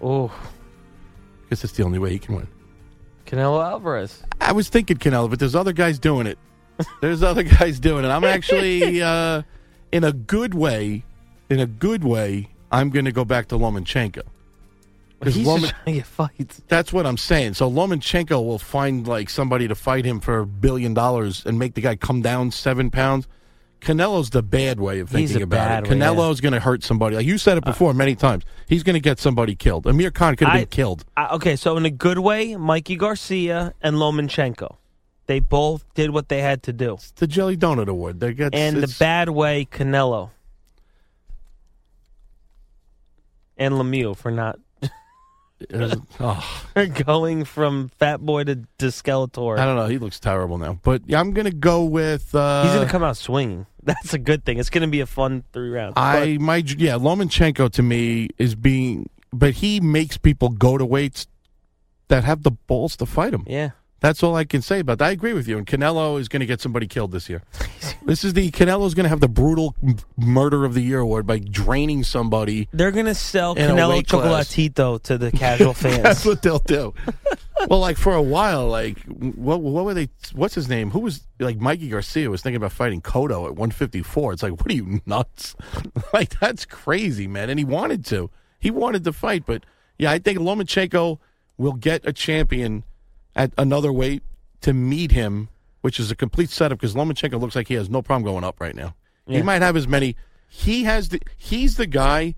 Speaker 6: Oh,
Speaker 7: because it's the only way he can win.
Speaker 6: Canelo Alvarez.
Speaker 7: I was thinking Canelo, but there's other guys doing it. There's other guys doing it. I'm actually uh, in a good way. In a good way, I'm going to go back to Lomachenko. 'Cause
Speaker 6: He's
Speaker 7: Loma-
Speaker 6: just trying to get fights.
Speaker 7: That's what I'm saying. So Lomachenko will find like somebody to fight him for a billion dollars and make the guy come down seven pounds. Canelo's the bad way of
Speaker 6: He's
Speaker 7: thinking
Speaker 6: a
Speaker 7: about
Speaker 6: bad
Speaker 7: it.
Speaker 6: way, yeah. Uh,
Speaker 7: Canelo's going to hurt somebody. Like you said it before many times. He's going to get somebody killed. Amir Khan could have
Speaker 6: I-
Speaker 7: been killed.
Speaker 6: I, okay, so in a good way, Mikey Garcia and Lomachenko, they both did what they had to do.
Speaker 7: It's the Jelly Donut Award. They get
Speaker 6: and the
Speaker 7: it's-
Speaker 6: bad way Canelo and Lemieux for not
Speaker 7: it's- oh.
Speaker 6: going from Fat Boy to, to Skeletor.
Speaker 7: I don't know. He looks terrible now. But yeah, I'm going to go with. Uh,
Speaker 6: He's gonna come out swinging. That's a good thing. It's gonna be a fun three rounds.
Speaker 7: I my yeah Lomachenko to me is being, but he makes people go to weights that have the balls to fight him.
Speaker 6: But, yeah,
Speaker 7: That's all I can say about that. I agree with you. And Canelo is going to get somebody killed this year. this is the Canelo's going to have the brutal m- murder of the year award by draining somebody.
Speaker 6: they're gonna sell
Speaker 7: In a
Speaker 6: Canelo
Speaker 7: weight class.
Speaker 6: Chocolatito to the casual
Speaker 7: That's
Speaker 6: fans.
Speaker 7: what they'll do. well, like for a while, like what what were they? What's his name? Who was like Mikey Garcia was thinking about fighting Cotto at 154. It's like, what are you nuts? like that's crazy, man. And he wanted to. He wanted to fight, but yeah, I think Lomachenko will get a champion at another weight to meet him, which is a complete setup because Lomachenko looks like he has no problem going up right now. He might have as many. He has the. He's the guy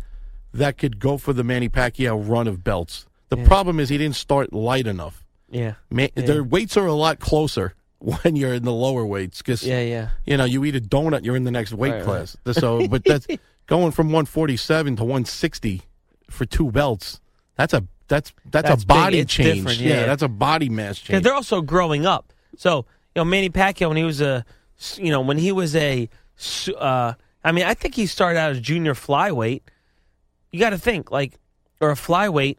Speaker 7: that could go for the Manny Pacquiao run of belts. The problem is he didn't start light enough.
Speaker 6: yeah,
Speaker 7: Ma Their weights are a lot closer. when you're in the lower weights because
Speaker 6: Yeah, yeah.
Speaker 7: you know you eat a donut, you're in the next weight
Speaker 6: Right,
Speaker 7: class. So, but that's going from 147 to 160 for two belts. That's a that's that's,
Speaker 6: That's
Speaker 7: a
Speaker 6: big.
Speaker 7: body
Speaker 6: It's
Speaker 7: change.
Speaker 6: different, yeah, yeah.
Speaker 7: that's a body mass
Speaker 6: Yeah,
Speaker 7: change.
Speaker 6: they're also growing up. So you know, Manny Pacquiao when he was a, you know, when he was a, su- uh, I mean, I think he started out as junior flyweight. You got to think like, or a flyweight.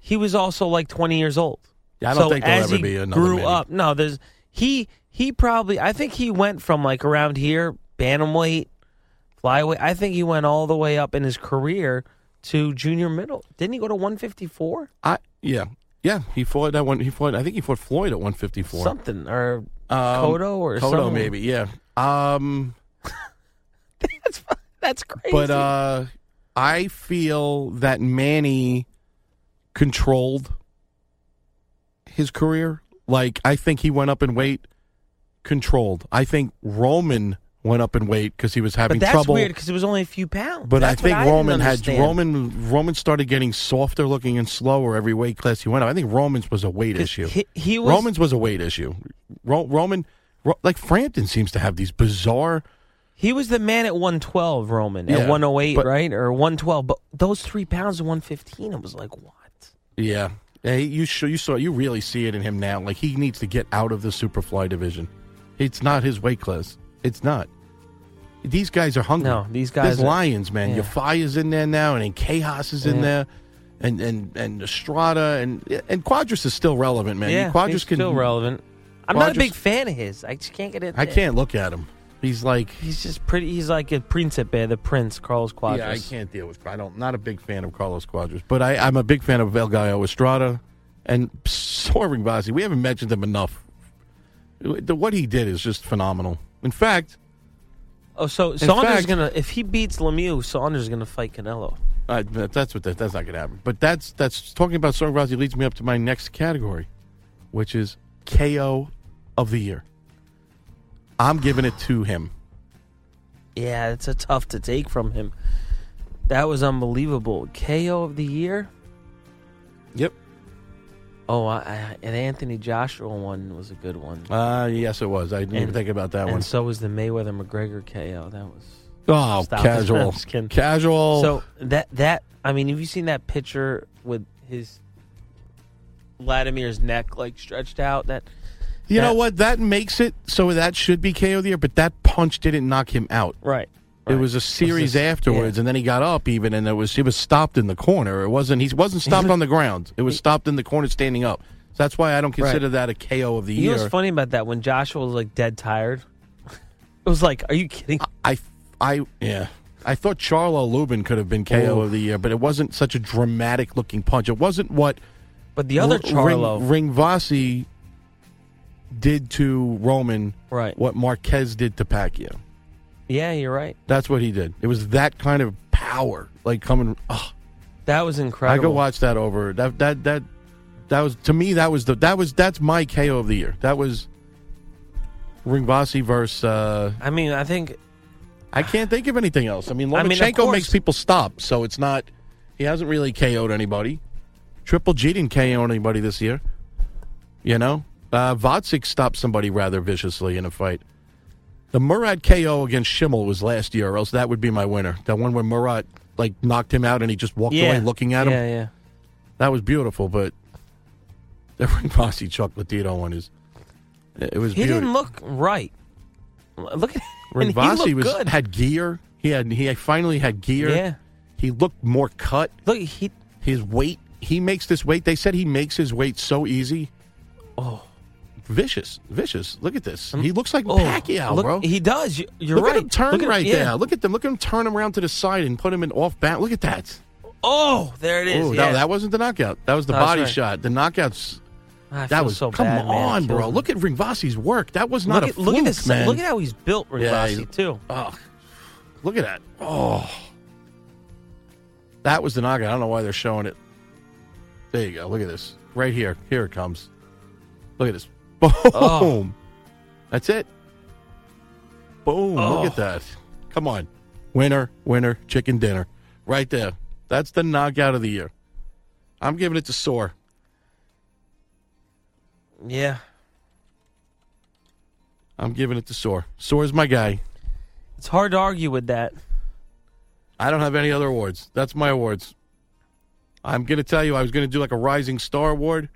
Speaker 6: He was also like twenty years old.
Speaker 7: Yeah, I don't
Speaker 6: so
Speaker 7: think there'll
Speaker 6: as
Speaker 7: ever
Speaker 6: he
Speaker 7: be another
Speaker 6: grew
Speaker 7: Manny.
Speaker 6: up. No, there's he he probably. I think he went from like around here bantamweight, flyweight. I think he went all the way up in his career to junior middle. Didn't he go to one fifty four?
Speaker 7: I yeah yeah he fought that one. He fought I think he fought Floyd at 154.
Speaker 6: Something or
Speaker 7: Um,
Speaker 6: Cotto or
Speaker 7: Cotto
Speaker 6: someone.
Speaker 7: maybe yeah. Um,
Speaker 6: that's fu- that's crazy.
Speaker 7: But uh, I feel that Manny controlled his career. Like I think he went up in weight, controlled. I think Roman went up in weight because he was having
Speaker 6: but that's
Speaker 7: trouble.
Speaker 6: weird because it was only a few pounds.
Speaker 7: But I
Speaker 6: That's what
Speaker 7: think
Speaker 6: didn't
Speaker 7: Roman had
Speaker 6: understand.
Speaker 7: Roman Roman started getting softer looking and slower every weight class he went up. I think Roman's was a weight
Speaker 6: 'Cause
Speaker 7: issue.
Speaker 6: He, he was
Speaker 7: Roman's was a weight issue. Ro- Roman, Ro- like Frampton, seems to have these bizarre
Speaker 6: he was the man at one twelve. Roman
Speaker 7: Yeah,
Speaker 6: at one oh eight,
Speaker 7: but-
Speaker 6: right or one twelve. But those three pounds and one fifteen, I was like, what?
Speaker 7: Yeah. Yeah, he- you sure you saw you really see it in him now. Like he needs to get out of the superfly division. It's not his weight class. It's not. These guys are hungry.
Speaker 6: No, these
Speaker 7: There's
Speaker 6: guys are-
Speaker 7: lions, man.
Speaker 6: yeah.
Speaker 7: Yafaya's in there now, and Kejas is in
Speaker 6: Yeah.
Speaker 7: there, and and and Estrada, and and Quadras is still relevant, man.
Speaker 6: yeah,
Speaker 7: Quadras
Speaker 6: he's
Speaker 7: can.
Speaker 6: still relevant. I'm not a
Speaker 7: Quadras-
Speaker 6: big fan of his. I just can't get it.
Speaker 7: I can't look at him. He's like.
Speaker 6: He's just pretty. He's like a principe, the prince, Carlos Quadras.
Speaker 7: Yeah, I can't deal with. I don't. Not a big fan of Carlos Quadras, but I, I'm a big fan of El Gallo Estrada and Soaring Basi. We haven't mentioned him enough. The- What he did is just phenomenal. In fact,
Speaker 6: Oh, so Saunders
Speaker 7: fact-
Speaker 6: gonna if he beats Lemieux, Saunders is gonna fight Canelo.
Speaker 7: uh, that- that's what that, that's not going to happen. But that's that's talking about Soaring Basi leads me up to my next category, which is KO of the year. I'm giving it to him.
Speaker 6: Yeah, it's a tough to take from him. That was unbelievable. KO of the year.
Speaker 7: Yep.
Speaker 6: Oh, I, I, and Anthony Joshua one was a good one.
Speaker 7: Uh yes, it was. I didn't even
Speaker 6: And-
Speaker 7: think about that
Speaker 6: and
Speaker 7: one.
Speaker 6: so was the Mayweather McGregor KO. That was
Speaker 7: Oh,
Speaker 6: Stop.
Speaker 7: casual,
Speaker 6: I'm just kidding.
Speaker 7: casual.
Speaker 6: so that that I mean, have you seen that picture with his Vladimir's neck like stretched out? That
Speaker 7: You know
Speaker 6: That-
Speaker 7: what? That makes it so that should be KO of the year, but that punch didn't knock him out.
Speaker 6: right.
Speaker 7: It was a series
Speaker 6: just-
Speaker 7: afterwards,
Speaker 6: yeah.
Speaker 7: and then he got up even, and it was he was stopped in the corner. It wasn't he wasn't stopped
Speaker 6: was-
Speaker 7: on the ground. It was stopped in the corner standing up. So that's why I don't consider that a KO of the
Speaker 6: You know
Speaker 7: year.
Speaker 6: what's funny about that when Joshua was like dead tired. It was like, are you kidding?
Speaker 7: I I yeah. I thought Charlo Lubin could have been KO of the year, but it wasn't such a dramatic looking punch. It wasn't what
Speaker 6: But the other
Speaker 7: R-
Speaker 6: Charlo,
Speaker 7: Ring, Ringvasi did to Roman,
Speaker 6: Right.
Speaker 7: what Marquez did to Pacquiao.
Speaker 6: yeah, you're right.
Speaker 7: That's what he did. It was that kind of power, like coming. Oh,
Speaker 6: That was
Speaker 7: I
Speaker 6: incredible.
Speaker 7: could watch that over. That that that that was to me. That was the that was that's my KO of the year. That was Ringvasi versus. Uh,
Speaker 6: I mean, I think
Speaker 7: I can't think of anything else. I mean,
Speaker 6: I mean, of
Speaker 7: Lomachenko
Speaker 6: course.
Speaker 7: makes people stop, so it's not. He hasn't really KO'd anybody. Triple G didn't KO anybody this year. You know, uh, Vodsik stopped somebody rather viciously in a fight. The Murat KO against Schimmel was last year, or else that would be my winner. That one where Murat like knocked him out and he just walked
Speaker 6: yeah,
Speaker 7: away looking at him.
Speaker 6: Yeah, yeah.
Speaker 7: That was beautiful, but the Ring Posse Chocolatito one is. It was.
Speaker 6: He
Speaker 7: beautiful.
Speaker 6: didn't look right. Look at and he
Speaker 7: Rinvasi
Speaker 6: looked
Speaker 7: was
Speaker 6: good.
Speaker 7: had gear. He had he finally had gear.
Speaker 6: Yeah.
Speaker 7: He looked more cut.
Speaker 6: Look, he
Speaker 7: His weight. He makes this weight. They said he makes his weight so easy. Oh, vicious, vicious. Look at this. He looks like
Speaker 6: oh,
Speaker 7: Pacquiao,
Speaker 6: look,
Speaker 7: bro.
Speaker 6: He does. You- You're
Speaker 7: look
Speaker 6: right.
Speaker 7: at him turn
Speaker 6: Look at him-
Speaker 7: right
Speaker 6: yeah.
Speaker 7: there. Look at them. Look at him turn him around to the side and put him in off balance. Look at that.
Speaker 6: Oh, there it is.
Speaker 7: Oh,
Speaker 6: yeah.
Speaker 7: no, that wasn't the knockout. That was the
Speaker 6: No, that's
Speaker 7: body
Speaker 6: right.
Speaker 7: shot. The knockouts.
Speaker 6: I feel
Speaker 7: That was
Speaker 6: so
Speaker 7: come
Speaker 6: bad, man. It
Speaker 7: on,
Speaker 6: kills
Speaker 7: bro.
Speaker 6: me.
Speaker 7: Look at Ringvasi's work. That was not
Speaker 6: look
Speaker 7: a
Speaker 6: at
Speaker 7: fluke,
Speaker 6: look at this
Speaker 7: man.
Speaker 6: Look at how he's built,
Speaker 7: Yeah,
Speaker 6: Ringvasi
Speaker 7: he-
Speaker 6: too.
Speaker 7: Oh, look at that. Oh, that was the knockout. I don't know why they're showing it. There you go. Look at this. Right here. Here it comes. Look at this. Boom.
Speaker 6: Oh.
Speaker 7: That's it. Boom.
Speaker 6: Oh.
Speaker 7: Look at that. Come on. Winner, winner, chicken dinner. Right there. That's the knockout of the year. I'm giving it to Soar.
Speaker 6: Yeah.
Speaker 7: I'm giving it to Soar. Soar's my guy.
Speaker 6: It's hard to argue with that.
Speaker 7: I don't have any other awards. That's my awards. I'm going to tell you, I was going to do like a Rising Star Award.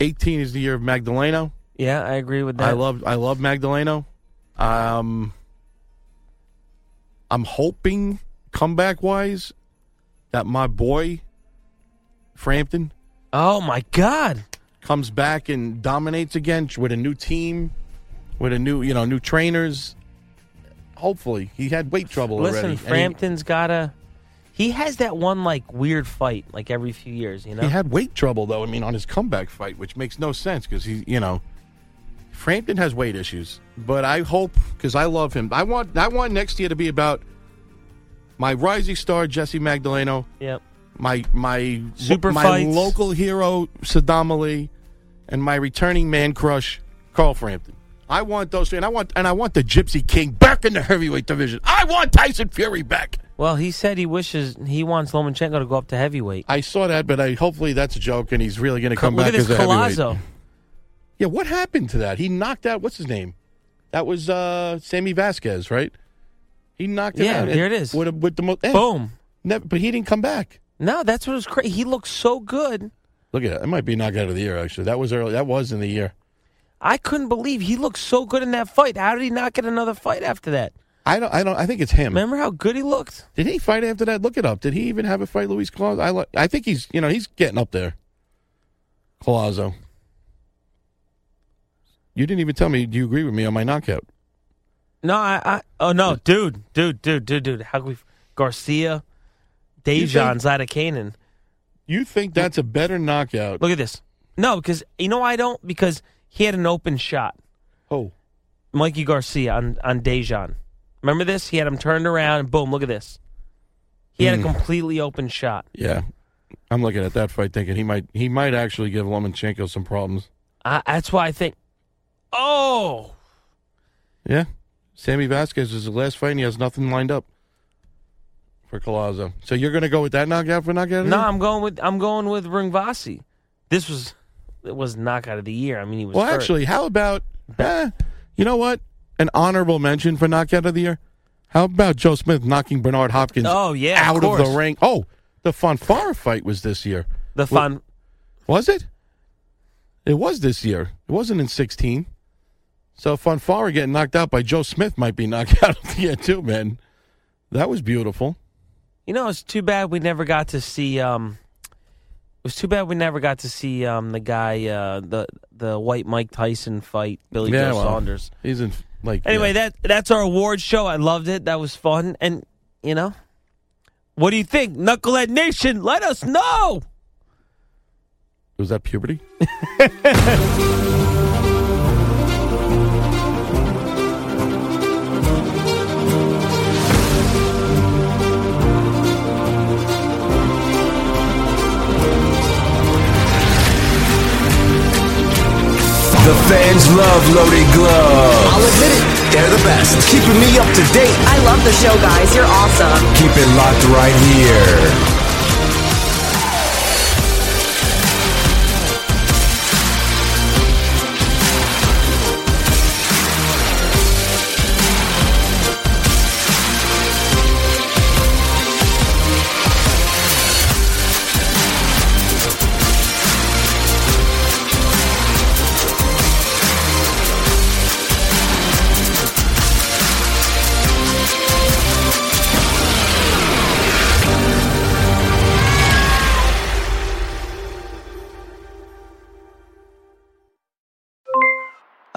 Speaker 7: 18 is the year of Magdaleno.
Speaker 6: Yeah, I agree with that.
Speaker 7: I love I love Magdaleno. Um, I'm hoping comeback wise that my boy Frampton
Speaker 6: Oh my god.
Speaker 7: comes back and dominates again with a new team, with a new you know new trainers. Hopefully, he had weight trouble
Speaker 6: Listen,
Speaker 7: already. and he-
Speaker 6: Frampton's gotta. He has that one like weird fight like every few years, you know.
Speaker 7: He had weight trouble though. I mean, on his comeback fight, which makes no sense because he, you know, Frampton has weight issues. But I hope because I love him. I want I want next year to be about my rising star Jesse Magdaleno,
Speaker 6: Yep.
Speaker 7: my my
Speaker 6: Super
Speaker 7: my
Speaker 6: fights.
Speaker 7: local hero Saddam Ali, and my returning man crush Carl Frampton. I want those, three, and I want and I want the Gypsy King back in the heavyweight division. I want Tyson Fury back.
Speaker 6: Well, he said he wishes he wants Lomachenko to go up to heavyweight.
Speaker 7: I saw that, but I hopefully that's a joke, and he's really going to come
Speaker 6: Look
Speaker 7: back
Speaker 6: at this
Speaker 7: as a heavyweight.
Speaker 6: Collazo.
Speaker 7: Yeah, what happened to that? He knocked out what's his name? That was uh Sammy Vasquez, right? He knocked it
Speaker 6: Yeah,
Speaker 7: out.
Speaker 6: there it is.
Speaker 7: With, with the most,
Speaker 6: Boom.
Speaker 7: but he didn't come back.
Speaker 6: No, that's what was crazy. He looked so good.
Speaker 7: Look at that. It might be knockout of the year. Actually, that was early. That was in the year.
Speaker 6: I couldn't believe he looked so good in that fight. How did he not get another fight after that?
Speaker 7: I don't. I don't. I think it's him.
Speaker 6: Remember how good he looked?
Speaker 7: Did he fight after that? Look it up. Did he even have a fight, Luis Claus? I li- I think he's. You know, he's getting up there. Colazo. You didn't even tell me. Do you agree with me on my knockout?
Speaker 6: No, I, I oh no, dude, dude, dude, dude, dude. How could we Garcia,
Speaker 7: think-
Speaker 6: Dejan, Zadakainen.
Speaker 7: You think that's a better knockout?
Speaker 6: Look at this. No, because you know why I don't because he had an open shot.
Speaker 7: Oh,
Speaker 6: Mikey Garcia on on Dejan. Remember this? He had him turned around and boom, look at this. He
Speaker 7: Hmm.
Speaker 6: had a completely open shot.
Speaker 7: Yeah, I'm looking at that fight thinking he might he might actually give Lomachenko some problems.
Speaker 6: I, that's why I think. Oh,
Speaker 7: Yeah, Sammy Vasquez is the last fight and he has nothing lined up for Collazo. So you're going to go with that knockout for knockout? of the
Speaker 6: no,
Speaker 7: year?
Speaker 6: I'm going with I'm going with Ringvasi. This was it was knockout of the year. I mean, he was
Speaker 7: Well,
Speaker 6: hurt.
Speaker 7: actually, how about eh, you know what? An honorable mention for knockout of the year. How about Joe Smith knocking Bernard Hopkins
Speaker 6: Oh, yeah, of
Speaker 7: out of, the
Speaker 6: course.
Speaker 7: ring? Oh, the Fonfara fight was this year.
Speaker 6: the fun.
Speaker 7: Was it? It was this year. It wasn't in 16. So Fonfara getting knocked out by Joe Smith might be knocked out of the year too, man. That was beautiful.
Speaker 6: You know, it's too bad we never got to see. Um, it was too bad we never got to see um, the guy, uh, the the white Mike Tyson fight, Billy Joe
Speaker 7: well,
Speaker 6: Saunders.
Speaker 7: He's in like
Speaker 6: Anyway,
Speaker 7: yeah.
Speaker 6: that that's our award show. I loved it. That was fun. And you know, what do you think, Knucklehead Nation? Let us know.
Speaker 7: was that puberty.
Speaker 5: The fans love Loaded Gloves.
Speaker 8: I'll admit it, they're the best.
Speaker 5: Keeping me up to date.
Speaker 8: I love the show, guys. You're awesome.
Speaker 5: Keep it locked right here.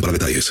Speaker 4: para detalles.